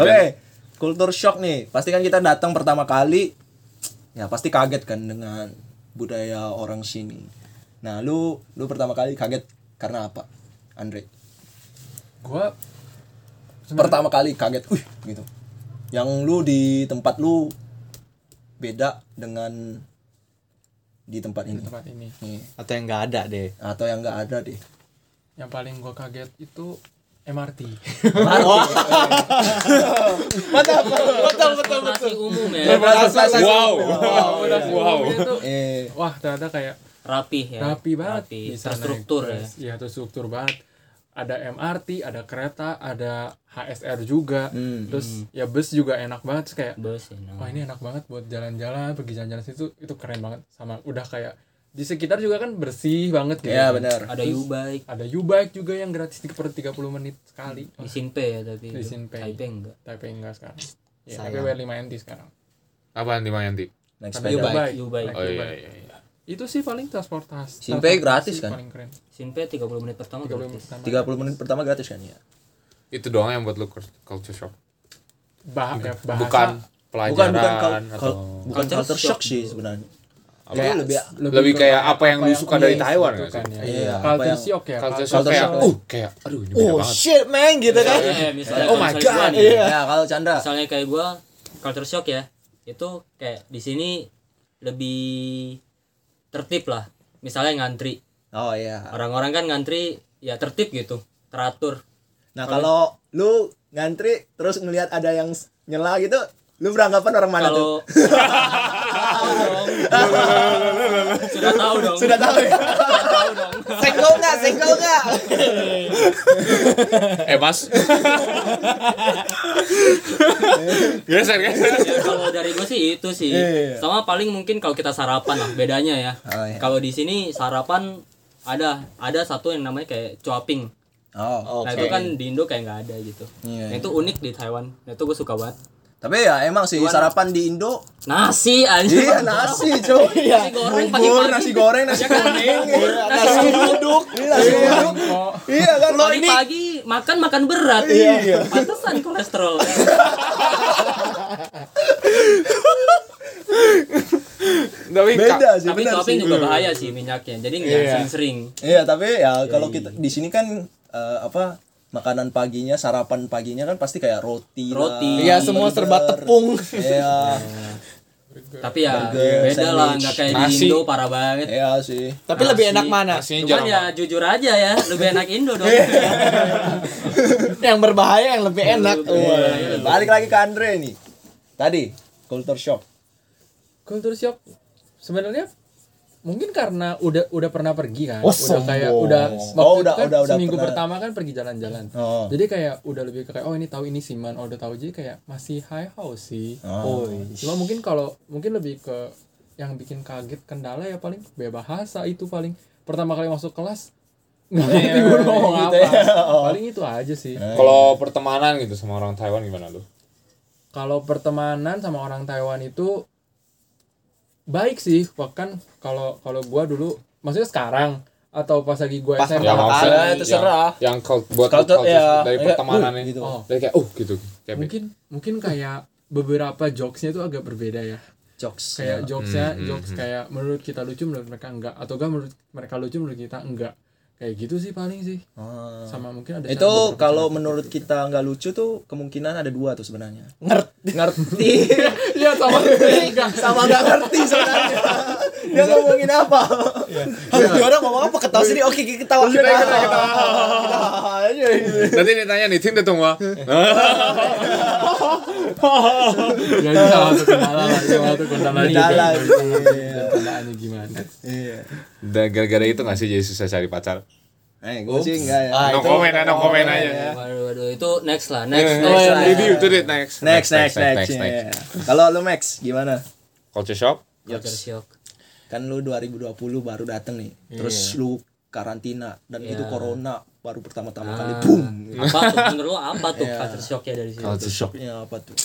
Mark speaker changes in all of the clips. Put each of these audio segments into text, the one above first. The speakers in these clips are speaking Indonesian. Speaker 1: Oke, kultur shock nih. Pasti kan kita datang pertama kali, ya pasti kaget kan dengan budaya orang sini. Nah, lu lu pertama kali kaget karena apa, Andre?
Speaker 2: Gua
Speaker 1: Pertama kali kaget, wih gitu. Yang lu di tempat lu beda dengan di tempat ini.
Speaker 2: tempat ini
Speaker 1: Nih.
Speaker 3: atau yang nggak ada deh
Speaker 1: Atau yang nggak ada deh.
Speaker 2: yang paling gua kaget itu MRT.
Speaker 3: betul
Speaker 4: Masih umum ya.
Speaker 2: Iya.
Speaker 3: wow
Speaker 2: wow. Itu,
Speaker 1: eh,
Speaker 2: wah ternyata kayak
Speaker 4: Rapih ya.
Speaker 2: rapi banget
Speaker 4: Rapi.
Speaker 2: Bisa naik
Speaker 4: Terstruktur ya.
Speaker 2: bus. iya terstruktur banget ada MRT ada kereta ada HSR juga
Speaker 1: Hmm,
Speaker 2: terus ya bus juga enak banget Terus kayak
Speaker 4: Bus ya. no.
Speaker 2: wah iya. ini enak banget buat jalan-jalan pergi jalan-jalan situ itu keren banget sama udah kayak di sekitar juga kan bersih banget kayak
Speaker 1: ya benar.
Speaker 4: Ada U-Bike,
Speaker 2: ada U-Bike juga yang gratis di- per 30 menit sekali
Speaker 1: Hmm.
Speaker 4: di Sinpay ya tapi.
Speaker 2: Di
Speaker 4: itu.
Speaker 2: Sinpay.
Speaker 4: Taipei enggak.
Speaker 2: tapi enggak sekarang ya,
Speaker 3: Sayang.
Speaker 2: tapi bayar 5 NT sekarang
Speaker 5: Apaan di Mayanti?
Speaker 1: Naik
Speaker 2: Ada
Speaker 1: sepeda.
Speaker 4: U-Bike,
Speaker 2: U-Bike.
Speaker 4: U-Bike.
Speaker 2: Naik
Speaker 5: Oh iya
Speaker 2: U-Bike.
Speaker 5: iya iya.
Speaker 2: itu sih paling transportasi
Speaker 1: Sinpay
Speaker 2: transportasi
Speaker 1: gratis kan?
Speaker 2: paling keren
Speaker 4: Sinpay 30 menit pertama
Speaker 2: 30 menit
Speaker 4: gratis.
Speaker 2: pertama.
Speaker 1: 30 menit pertama gratis kan ya.
Speaker 5: Itu doang yang buat lu culture shock.
Speaker 2: Bah- ya, bahasa
Speaker 5: Bukan
Speaker 1: Bukan
Speaker 5: pelajaran
Speaker 1: bukan kal-
Speaker 5: atau
Speaker 1: kal- bukan
Speaker 4: Culture
Speaker 1: culture shock
Speaker 4: shock
Speaker 1: sih sebenarnya.
Speaker 5: Apa?
Speaker 1: Kayak lebih
Speaker 5: lebih, kayak apa yang lu suka dari Taiwan kan?
Speaker 2: kan ya.
Speaker 1: Iya, apa
Speaker 2: Culture
Speaker 1: yang-
Speaker 2: shock ya.
Speaker 5: Culture shock
Speaker 1: Culture
Speaker 5: kayak
Speaker 1: shock.
Speaker 5: uh kayak aduh ini beda
Speaker 3: oh
Speaker 5: banget.
Speaker 3: shit man gitu kan
Speaker 4: Eh, misalnya
Speaker 5: Oh
Speaker 4: kalau
Speaker 5: my
Speaker 4: misalnya
Speaker 5: God,
Speaker 4: gua nih,
Speaker 3: iya.
Speaker 1: Ya, kalau Chandra.
Speaker 4: misalnya kayak gua culture shock ya itu kayak di sini lebih tertib lah misalnya ngantri
Speaker 1: Oh iya.
Speaker 4: orang-orang kan ngantri ya tertib gitu teratur
Speaker 1: Nah, kalau lu ngantri terus ngelihat ada yang s- nyela gitu, lu beranggapan orang mana tuh?
Speaker 4: kalau sudah tahu dong
Speaker 1: Sudah tahu ya?
Speaker 4: Sudah tahu dong
Speaker 3: senggol nggak senggol nggak
Speaker 5: Eh mas. geser geser.
Speaker 4: Ya, kalau dari gue sih itu sih sama paling mungkin kalau kita sarapan lah bedanya ya
Speaker 1: Iya, Oh, iya.
Speaker 4: kalau di sini sarapan ada ada satu yang namanya kayak cuaping
Speaker 1: Oh.
Speaker 4: Nah itu kan di Indo kayak nggak ada gitu.
Speaker 1: Iya,
Speaker 4: Nah, itu unik di Taiwan. Nah itu gue suka banget.
Speaker 1: Tapi ya emang sih sarapan di Indo
Speaker 4: Nasi anjir.
Speaker 1: iya nasi, cuy.
Speaker 4: Nasi goreng
Speaker 1: Bubur,
Speaker 4: pagi-pagi.
Speaker 1: nasi goreng, Iya, nasi kuning.
Speaker 3: nasi uduk
Speaker 1: Iya kan?
Speaker 4: Lo ini pagi makan makan berat. Iya. Pantesan kolesterol.
Speaker 1: Iya,
Speaker 5: Tapi ka-
Speaker 1: Beda sih,
Speaker 4: Tapi
Speaker 1: benar
Speaker 4: topping
Speaker 1: sih. Hmm.
Speaker 4: juga bahaya sih minyaknya. Jadi nggak sering-sering.
Speaker 1: Iya, tapi ya kalau kita di sini kan eh, apa makanan paginya, sarapan paginya kan pasti kayak roti. lah,
Speaker 4: Roti.
Speaker 3: ya semua serba
Speaker 1: burger.
Speaker 3: tepung
Speaker 1: Iya.
Speaker 4: Tapi ya
Speaker 1: Burger,
Speaker 4: beda lah
Speaker 1: sandwich.
Speaker 4: nggak kayak di
Speaker 5: Nasi.
Speaker 4: Indo parah banget.
Speaker 1: Iya sih.
Speaker 3: tapi lebih enak mana
Speaker 5: Nasinya
Speaker 4: Cuman
Speaker 5: jarang.
Speaker 4: ya
Speaker 5: banget.
Speaker 4: jujur aja ya, lebih enak Indo dong.
Speaker 1: Iya.
Speaker 3: yang berbahaya yang lebih enak Wah.
Speaker 1: Eh, Balik lagi ke Andre nih. Tadi culture shock.
Speaker 2: Culture shock sebenarnya mungkin karena udah udah pernah pergi kan,
Speaker 3: Oh,
Speaker 2: udah kayak
Speaker 3: sombong.
Speaker 2: udah waktu
Speaker 1: Oh,
Speaker 2: itu
Speaker 1: udah-
Speaker 2: kan
Speaker 1: udah- udah
Speaker 2: seminggu
Speaker 1: pernah.
Speaker 2: pertama kan pergi jalan-jalan.
Speaker 1: Oh.
Speaker 2: Jadi kayak udah lebih ke kayak oh ini tahu ini Siman, oh, udah tahu jadi kayak masih high house sih.
Speaker 1: Oh.
Speaker 2: Cuma mungkin kalau mungkin lebih ke yang bikin kaget kendala ya paling bea bahasa itu paling pertama kali masuk kelas nggak ngerti gue ngomong
Speaker 1: gitu
Speaker 2: apa
Speaker 1: ya. Oh.
Speaker 2: paling itu aja sih
Speaker 5: Kalau pertemanan gitu sama orang Taiwan gimana lu?
Speaker 2: kalau pertemanan sama orang Taiwan itu baik sih bahkan kalau kalau gua dulu maksudnya sekarang atau pas lagi gua
Speaker 3: Pas
Speaker 2: SMA
Speaker 3: pertama
Speaker 2: oh,
Speaker 3: kali.
Speaker 5: maksudnya
Speaker 3: Ya, terserah.
Speaker 5: Yang, yang cult- buat
Speaker 1: Culture,
Speaker 5: culture
Speaker 1: ya.
Speaker 5: shock dari
Speaker 1: Iya,
Speaker 5: pertemanan
Speaker 1: uh, gitu.
Speaker 5: gitu. Dari kayak uh gitu. Kayak beda.
Speaker 2: mungkin mungkin kayak beberapa jokesnya itu agak berbeda ya
Speaker 1: Jokes.
Speaker 2: kayak jokesnya jokes kayak menurut kita lucu menurut mereka enggak atau enggak menurut mereka lucu menurut kita enggak kayak gitu sih paling sih
Speaker 3: Oh.
Speaker 1: Ah.
Speaker 2: sama mungkin ada
Speaker 1: Itu
Speaker 2: cara beberapa
Speaker 1: kalau
Speaker 2: cara.
Speaker 1: menurut kita nggak lucu tuh kemungkinan ada dua tuh sebenarnya.
Speaker 3: ngerti
Speaker 1: Ngerti
Speaker 2: iya sama enggak
Speaker 1: sama nggak ngerti sebenarnya. Dia ngomongin apa? Iya.
Speaker 3: harus orang ngomong apa ketawa sini oke kita ketawa kita
Speaker 1: Aja gitu.
Speaker 5: Nanti ditanya nih, Tim datang wah.
Speaker 2: jadi salah satu kendala lah salah satu kendala juga.
Speaker 1: Kendala sih.
Speaker 2: Dan kendalanya gimana
Speaker 1: Iya.
Speaker 5: Dan gara-gara itu nggak sih jadi susah cari pacar?
Speaker 1: Eh, gue sih enggak ya.
Speaker 5: No comment, no comment aja.
Speaker 4: Waduh, waduh, itu next lah, ya. next,
Speaker 5: Eh,
Speaker 4: next, lah. ya.
Speaker 5: Jadi itu deh next.
Speaker 1: Next, next, next. iya. Kalau lu Max gimana?
Speaker 5: Culture shock?
Speaker 4: Culture shock.
Speaker 1: Kan lu 2020 baru dateng nih. Terus lu karantina dan itu corona baru pertama-tama kali boom.
Speaker 4: Apa tuh menurut lo apa tuh culture shocknya dari sini?
Speaker 5: Culture shock.
Speaker 1: Ya apa tuh?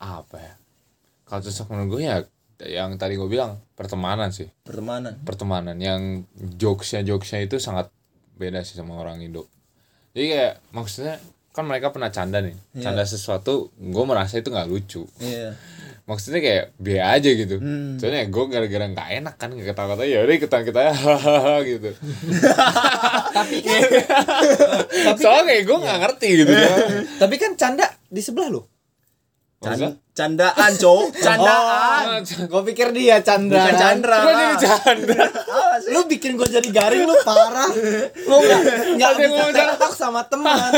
Speaker 5: Apa ya? Culture shock menurut gue ya yang tadi gue bilang pertemanan sih.
Speaker 1: Pertemanan.
Speaker 5: Pertemanan yang jokesnya jokesnya itu sangat beda sih sama orang Indo. Jadi kayak maksudnya kan mereka pernah canda nih canda sesuatu gue merasa itu nggak lucu
Speaker 1: Iya.
Speaker 5: maksudnya kayak biaya aja gitu
Speaker 1: Hmm.
Speaker 5: soalnya gue gara-gara nggak enak kan nggak ketawa ketawa ya udah ikutan kita hahaha gitu tapi soalnya
Speaker 1: kan-
Speaker 5: kayak gue
Speaker 1: Iya.
Speaker 5: nggak ngerti gitu
Speaker 3: Tapi kan canda di sebelah lu.
Speaker 1: Can- candaan, Cok.
Speaker 5: "Oh,
Speaker 1: Candaan.
Speaker 3: Gue pikir dia canda. kan?
Speaker 1: Bukan Chandra.
Speaker 5: Kok jadi canda
Speaker 3: Lu bikin gue jadi garing lu parah. Lu enggak enggak
Speaker 5: Ada yang
Speaker 3: bisa
Speaker 5: ngomong canda.
Speaker 3: tektok sama teman.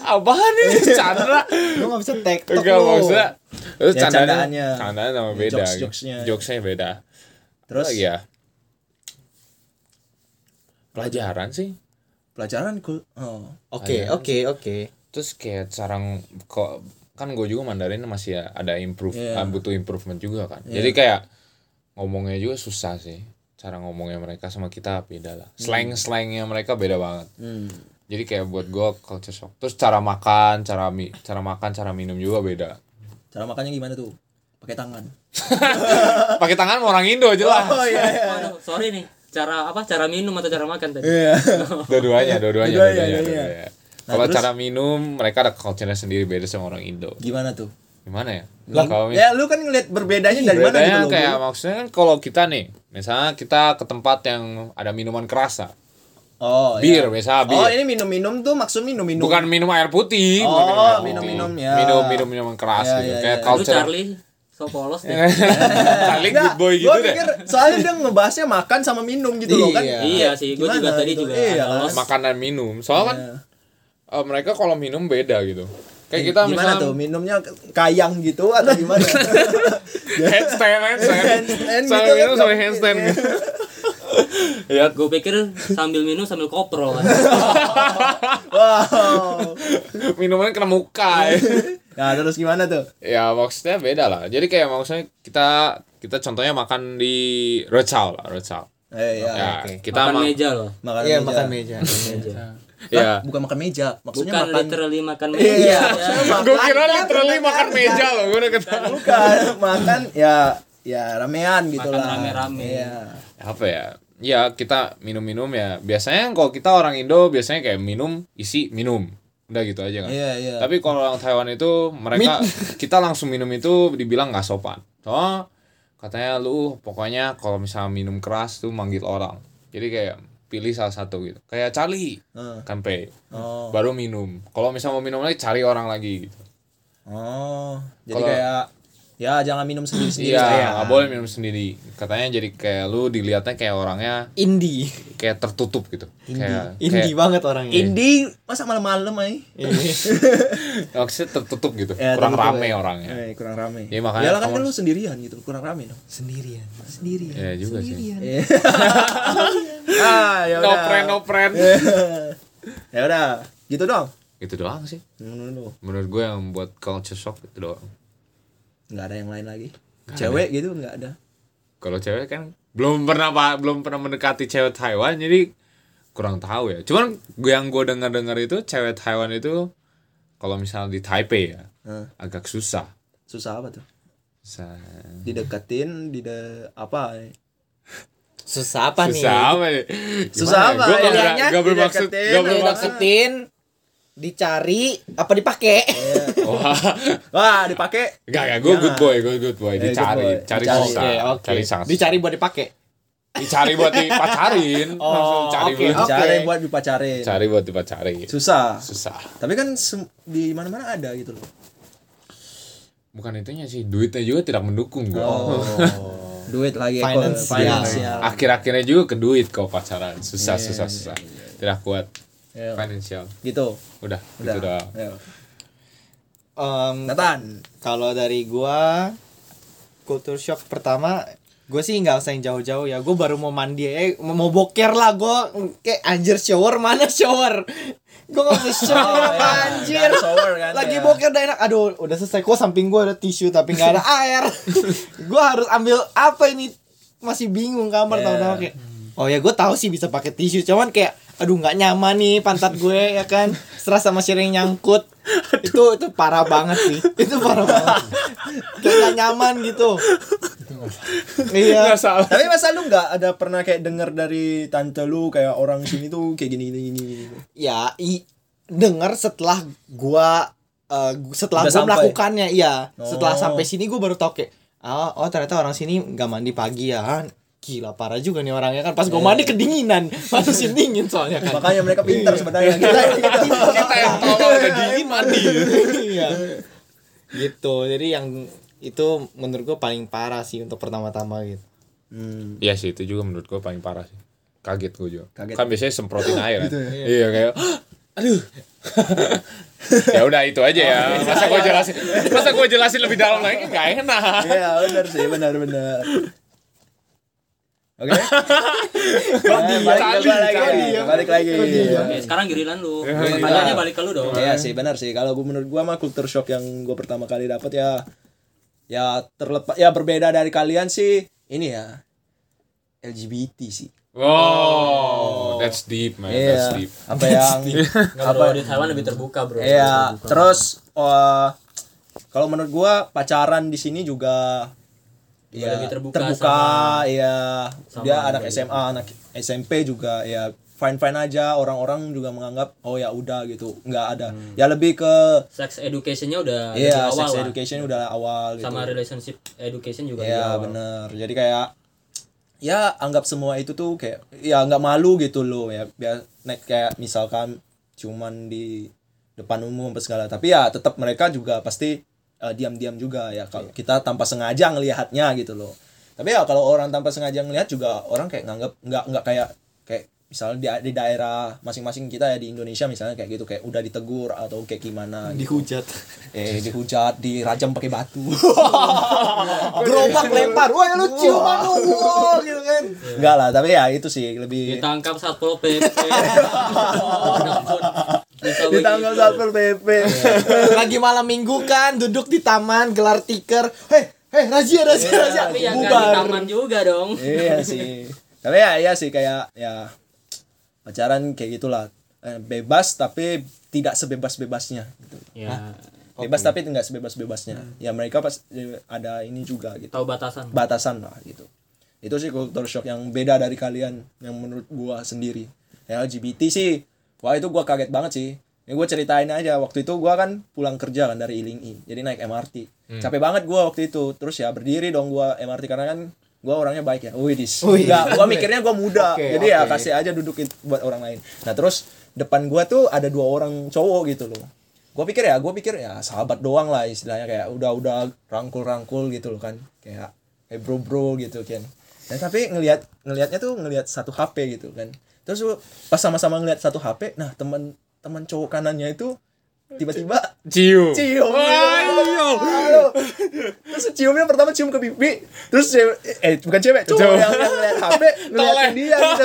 Speaker 5: apaan ini chandra
Speaker 3: Lu enggak bisa tektok
Speaker 5: enggak
Speaker 3: lu.
Speaker 5: maksudnya terus
Speaker 1: Ya,
Speaker 5: candanya
Speaker 1: candaannya.
Speaker 5: candaan sama
Speaker 1: Ya,
Speaker 5: beda
Speaker 1: jokes-
Speaker 5: gitu.
Speaker 1: jokesnya.
Speaker 5: jokesnya beda
Speaker 1: Terus
Speaker 5: Apa lagi ya pelajaran sih
Speaker 1: pelajaran kul- oh.
Speaker 3: Oke, oke, oke.
Speaker 5: terus kayak sarang kok kan gue juga Mandarin masih ya ada improve
Speaker 1: Iya.
Speaker 5: ah, butuh improvement juga kan jadi kayak ngomongnya juga susah sih cara ngomongnya mereka sama kita beda lah
Speaker 1: Hmm.
Speaker 5: slang slangnya mereka beda banget jadi kayak buat gue culture shock terus cara makan cara mi cara makan cara minum juga beda
Speaker 1: Cara makannya gimana tuh? Pakai tangan.
Speaker 5: pakai tangan sama orang Indo jelas
Speaker 1: Oh.
Speaker 4: Waduh, sorry nih. Cara apa? Cara minum atau cara makan tadi?
Speaker 1: Iya.
Speaker 5: dua-duanya
Speaker 1: Dua-duanya,
Speaker 5: dua-duanya dua-duanya,
Speaker 1: iya.
Speaker 5: dua-duanya. kalau cara minum mereka ada culture sendiri beda sama orang Indo
Speaker 1: gimana tuh?
Speaker 5: gimana ya
Speaker 1: Lah,
Speaker 5: kalau mis-
Speaker 1: ya lu kan ngeliat berbedanya dari mana
Speaker 5: bedanya
Speaker 1: gitu loh.
Speaker 5: kayak
Speaker 1: Bro.
Speaker 5: maksudnya kan kalau kita nih misalnya kita ke tempat yang ada minuman kerasa
Speaker 1: Oh, iya.
Speaker 5: bir biasa bir
Speaker 1: Oh, ini minum-minum tuh maksud minum-minum.
Speaker 5: bukan minum air putih
Speaker 1: Oh,
Speaker 5: bukan air putih.
Speaker 1: minum-minum, ya.
Speaker 5: minum minum minuman keras
Speaker 1: Ya,
Speaker 5: gitu
Speaker 1: ya, ya.
Speaker 5: kayak
Speaker 4: Lu
Speaker 5: culture
Speaker 4: Charlie, so polos deh.
Speaker 5: Charlie good boy gitu
Speaker 1: gua
Speaker 5: deh
Speaker 1: pikir soalnya dia ngebahasnya makan sama minum gitu loh kan.
Speaker 3: Iya.
Speaker 4: Iya sih, gua juga
Speaker 1: Gimana
Speaker 4: tadi
Speaker 1: gitu?
Speaker 4: juga
Speaker 1: Iya,
Speaker 4: ada
Speaker 1: kan?
Speaker 4: los.
Speaker 5: makanan minum soalnya kan
Speaker 1: Iya.
Speaker 5: eh, mereka kalau minum beda gitu kayak kita
Speaker 1: gimana
Speaker 5: misalnya
Speaker 1: tuh minumnya kayang gitu atau gimana?
Speaker 5: handstand handstand
Speaker 1: Handstand gitu kan,
Speaker 5: sambil minum sambil
Speaker 1: nggak-
Speaker 5: handstand
Speaker 1: iya.
Speaker 5: gitu ya
Speaker 4: Gue pikir sambil minum sambil koprol kan.
Speaker 1: wow.
Speaker 5: minuman kena muka ya.
Speaker 1: Nah, terus gimana tuh?
Speaker 5: Ya maksudnya beda lah. Jadi kayak maksudnya kita kita contohnya makan di Rochal lah, Rochal.
Speaker 1: Eh, ya.
Speaker 5: ya,
Speaker 3: oke.
Speaker 5: kita
Speaker 4: Makan
Speaker 5: ma-
Speaker 4: meja loh.
Speaker 1: Makan
Speaker 3: Iya,
Speaker 1: meja.
Speaker 3: makan meja.
Speaker 4: Meja.
Speaker 5: ya.
Speaker 1: Bukan makan meja, maksudnya
Speaker 4: Bukan
Speaker 1: makan
Speaker 4: literally makan meja.
Speaker 1: Iya,
Speaker 4: ya.
Speaker 1: maksudnya makan.
Speaker 5: Gue kira literally makan meja loh, gue udah ketawa.
Speaker 1: Bukan makan ya ya ramean gitu
Speaker 4: Makan
Speaker 1: lah.
Speaker 4: rame-rame.
Speaker 1: Iya.
Speaker 5: Apa ya? Ya kita minum-minum ya. Biasanya kalau kita orang Indo biasanya kayak minum isi minum. Udah gitu aja kan.
Speaker 1: Iya, iya.
Speaker 5: Tapi kalau orang Taiwan itu mereka kita langsung minum itu dibilang nggak sopan. Soalnya katanya lu pokoknya kalau misalnya minum keras tuh manggil orang. Jadi kayak pilih salah satu gitu. Kayak Charlie
Speaker 1: Heeh.
Speaker 5: Kampe.
Speaker 1: Oh.
Speaker 5: Baru minum. Kalau misalnya mau minum lagi cari orang lagi gitu.
Speaker 1: Oh, jadi
Speaker 5: Kalau-
Speaker 1: kayak ya jangan minum sendiri-sendiri saya.
Speaker 5: Iya, nggak boleh minum sendiri. Katanya jadi kayak lu dilihatnya kayak orangnya
Speaker 3: Indie.
Speaker 5: kayak tertutup gitu. Kayak,
Speaker 3: Indie
Speaker 5: kayak Iya.
Speaker 3: banget orangnya.
Speaker 1: Indi masa malam-malam ay?
Speaker 5: maksudnya tertutup gitu.
Speaker 1: Ya,
Speaker 5: kurang
Speaker 1: tertutup
Speaker 5: rame
Speaker 1: ya.
Speaker 5: orangnya.
Speaker 1: Eh, kurang rame.
Speaker 5: Iya, makanya
Speaker 1: Iyalah kan
Speaker 5: kalau-
Speaker 1: lu sendirian gitu, kurang rame dong.
Speaker 3: Sendirian. Sendirian.
Speaker 5: Iya juga sih.
Speaker 1: Eh. ah, ya
Speaker 5: No
Speaker 1: udah.
Speaker 5: friend, no friend.
Speaker 1: Eh. ya udah, gitu dong.
Speaker 5: Itu doang sih.
Speaker 1: Menurut lu
Speaker 5: menurut gue yang buat culture shock itu doang
Speaker 1: nggak ada yang lain lagi. Cewek gitu nggak ada.
Speaker 5: kalau cewek kan belum pernah pa- belum pernah mendekati cewek Taiwan jadi kurang tahu ya cuman gue yang gue dengar dengar itu cewek Taiwan itu kalau misalnya di Taipei ya
Speaker 1: Heeh.
Speaker 5: agak susah
Speaker 1: Susah apa tuh?
Speaker 5: susah
Speaker 1: Hmm. Dideketin, di apa? eh?
Speaker 3: Susah apa nih?
Speaker 5: susah apa ya? nih
Speaker 1: Susah apa?
Speaker 5: gue gak,
Speaker 1: Pilihannya
Speaker 5: gak bermaksud
Speaker 1: dideketin,
Speaker 5: gak bermaksud
Speaker 3: Dideketin, dicari, apa dipakai?
Speaker 5: wah
Speaker 1: Wah, dipakai
Speaker 5: gak gak gue good boy gue good boy
Speaker 1: Eh, good boy.
Speaker 5: dicari cari
Speaker 1: Dicari,
Speaker 5: susah
Speaker 3: Eh,
Speaker 5: cari sangat
Speaker 3: Dicari buat dipakai.
Speaker 5: dicari buat dipacarin Maksudnya cari
Speaker 3: oke,
Speaker 5: buat
Speaker 3: oke.
Speaker 1: dicari buat dipacarin.
Speaker 5: cari buat dipacarin
Speaker 1: Susah.
Speaker 5: susah
Speaker 1: Tapi kan sem- di mana-mana ada gitu loh.
Speaker 5: bukan itunya sih duitnya juga tidak mendukung gue
Speaker 1: Oh, Duit lagi Eko.
Speaker 3: Finansial.
Speaker 1: Finansial.
Speaker 5: akhir-akhirnya juga ke duit kau pacaran susah susah susah tidak kuat
Speaker 1: Iya.
Speaker 5: financial
Speaker 1: Gitu.
Speaker 5: udah,
Speaker 1: Udah.
Speaker 5: itu udah
Speaker 1: Ayo.
Speaker 3: Em,
Speaker 1: Nathan.
Speaker 3: kalau dari gua culture shock pertama gue sih nggak usah yang jauh-jauh ya gue baru mau mandi eh mau- mau boker lah gue kayak anjir shower mana shower gue nggak mau shower
Speaker 1: Oh, iya.
Speaker 3: apa Oh, iya. anjir
Speaker 1: Nggak ada shower kan,
Speaker 3: lagi
Speaker 1: ya.
Speaker 3: boker udah enak aduh udah selesai kok samping gue ada tisu tapi nggak ada air gue harus ambil apa ini masih bingung kamar
Speaker 1: Iya.
Speaker 3: tahu-tahu kayak oh ya gue tahu sih bisa pakai tisu cuman kayak aduh nggak nyaman nih pantat gue ya kan serasa masih ada yang nyangkut itu itu parah banget sih itu parah banget kayak nggak nyaman gitu iya
Speaker 5: nggak salah
Speaker 1: Tapi masa lu nggak ada pernah kayak denger dari tante lu kayak orang sini tuh kayak gini gini gini. gini?
Speaker 3: ya i dengar setelah gua eh, gu- setelah
Speaker 1: Udah
Speaker 3: gua
Speaker 1: sampai.
Speaker 3: melakukannya iya setelah
Speaker 1: Oh.
Speaker 3: sampai sini gua baru tau kayak ah, oh ternyata orang sini nggak mandi pagi ya Ah, gila parah juga nih orangnya kan pas
Speaker 1: Iya.
Speaker 3: gua mandi kedinginan masukin dingin soalnya kan
Speaker 1: makanya mereka pintar sebenarnya kita gitu.
Speaker 5: Kita yang tolong udah dingin mandi.
Speaker 3: Iya. gitu jadi yang itu menurut gua paling parah sih untuk pertama-tama gitu
Speaker 1: Hmm.
Speaker 5: Iya sih itu juga menurut gue paling parah sih. Kaget gue juga.
Speaker 1: Kaget.
Speaker 5: Kan biasanya semprotin air kan. Iya kayak aduh. ya udah itu aja ya. Masa gue jelasin masa gue jelasin lebih dalam lagi nggak enak.
Speaker 1: Iya benar sih benar benar. Oke. Eh, balik, balik
Speaker 5: Kali, kali.
Speaker 1: lagi. Balik lagi.
Speaker 4: Oke, sekarang giliran lu.
Speaker 1: iya.
Speaker 4: Tanyanya balik ke lu dong.
Speaker 1: Iya sih benar sih. Kalau gue menurut gua mah culture shock yang gue pertama kali dapat ya ya terlepas ya berbeda dari kalian sih ini ya LGBT sih.
Speaker 5: Wow, Oh, that's deep man, that's
Speaker 1: Iya.
Speaker 5: deep.
Speaker 1: Apa yang
Speaker 4: Nggak, bro, di Taiwan lebih terbuka, Bro.
Speaker 1: Iya, terus eh, kalau menurut gua pacaran di sini juga ya,
Speaker 4: Juga lebih Iya, terbuka sama-
Speaker 1: iya. Dia
Speaker 4: sama gitu.
Speaker 1: anak SMA, anak SMP juga ya fine-fine aja orang-orang juga menganggap oh ya udah gitu, nggak ada. Ya lebih ke
Speaker 4: Sex education-nya udah dari
Speaker 1: iya
Speaker 4: Hmm. awal
Speaker 1: sex
Speaker 4: lah.
Speaker 1: education udah awal gitu.
Speaker 4: Sama relationship education juga dari
Speaker 1: Iya
Speaker 4: awal.
Speaker 1: bener Jadi kayak ya anggap semua itu tuh kayak ya nggak malu gitu loh ya biar naik kayak misalkan cuman di depan umum apa segala tapi ya tetap mereka juga pasti eh, diam-diam juga ya kalau kita tanpa sengaja ngelihatnya gitu loh tapi ya kalau orang tanpa sengaja ngelihat juga orang kayak nganggap nggak nggak kayak kayak misalnya di, di daerah masing-masing kita ya di Indonesia misalnya kayak gitu kayak udah ditegur atau kayak gimana gitu.
Speaker 3: dihujat
Speaker 1: eh dihujat dirajam pakai batu
Speaker 3: gerobak lempar wah
Speaker 1: ya
Speaker 3: lu ciuman lu wow, gitu kan
Speaker 1: Enggak lah, tapi ya itu sih lebih
Speaker 4: Ditangkap Satpol PP. Ampun. Bisa begitu.
Speaker 1: ditanggal satpol pp.
Speaker 4: Iya.
Speaker 3: lagi malam minggu kan duduk di taman gelar tiker heh heh razia razia razia
Speaker 4: Tapi ya nggak di
Speaker 3: bubar
Speaker 4: taman juga dong.
Speaker 1: Iya sih. Tapi ya iya sih kayak ya pacaran kayak gitulah. Eh, Bebas tapi tidak sebebas-bebasnya. gitu.
Speaker 4: Ya,
Speaker 1: Bebas tapi enggak sebebas-bebasnya. Ya mereka pas eh, ada ini juga gitu.
Speaker 4: tahu batasan.
Speaker 1: Batasan lah gitu. Itu sih culture shock yang beda dari kalian yang menurut gua sendiri. Ya, Yang LGBT sih. Wah, itu gua kaget banget sih. Ini gua ceritain aja waktu itu gua kan pulang kerja kan dari Ilingi. Jadi naik MRT. Capek banget gua waktu itu. Terus ya berdiri dong gua MRT karena kan gua orangnya baik ya. Wih, dis.
Speaker 3: Wih.
Speaker 1: Enggak, gua mikirnya gua muda.
Speaker 3: Oke,
Speaker 1: Jadi ya
Speaker 3: oke.
Speaker 1: kasih aja duduk it- buat orang lain. Nah, terus depan gua tuh ada dua orang cowok gitu loh. Gua pikir ya, gua pikir ya sahabat doang lah istilahnya kayak udah-udah rangkul-rangkul gitu loh kan. Kayak eh bro-bro gitu kan. Nah, tapi ngelihat ngelihatnya tuh ngelihat satu HP gitu kan. Terus gua pas sama-sama ngelihat satu HP, nah teman teman cowok kanannya itu tiba-tiba
Speaker 5: Ciu.
Speaker 1: cium
Speaker 5: iya.
Speaker 1: Aduh. terus ciumnya pertama cium ke pipi terus cewek eh bukan cewek cowok
Speaker 5: Cowok.
Speaker 1: yang, yang ngeliat HP ngeliatin dia gitu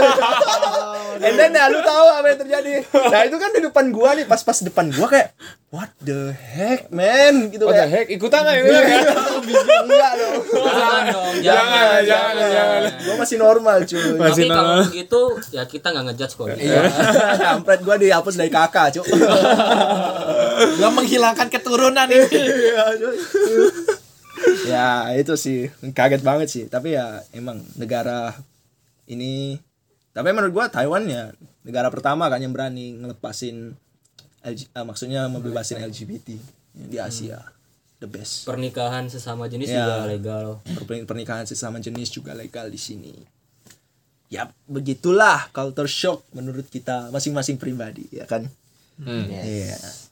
Speaker 1: and then ya lu tahu apa yang terjadi nah itu kan di depan gua nih pas-pas depan gua kayak what the heck man gitu
Speaker 5: What the
Speaker 1: kayak
Speaker 5: heck? Ikutan nggak ya?
Speaker 1: enggak dong
Speaker 4: Jangan dong,
Speaker 5: Jangan, jangan, jangan.
Speaker 1: gua masih normal cuy
Speaker 5: Masih
Speaker 4: Tapi kalau
Speaker 5: normal.
Speaker 4: begitu ya kita nggak ngejudge kok.
Speaker 1: iya kampret gua dihapus dari kakak cuy
Speaker 3: gak menghilangkan keturunan ini
Speaker 1: ya itu sih kaget banget sih tapi ya emang negara ini tapi menurut gua Taiwan ya negara pertama kan yang berani ngelepasin LG eh, maksudnya membebasin LGBT di
Speaker 5: Hmm.
Speaker 1: Asia the best
Speaker 4: Pernikahan sesama jenis
Speaker 1: Ya.
Speaker 4: juga legal.
Speaker 1: Per- pernikahan sesama jenis juga legal di sini ya begitulah culture shock menurut kita masing-masing pribadi ya kan
Speaker 5: Hmm.
Speaker 1: Iya.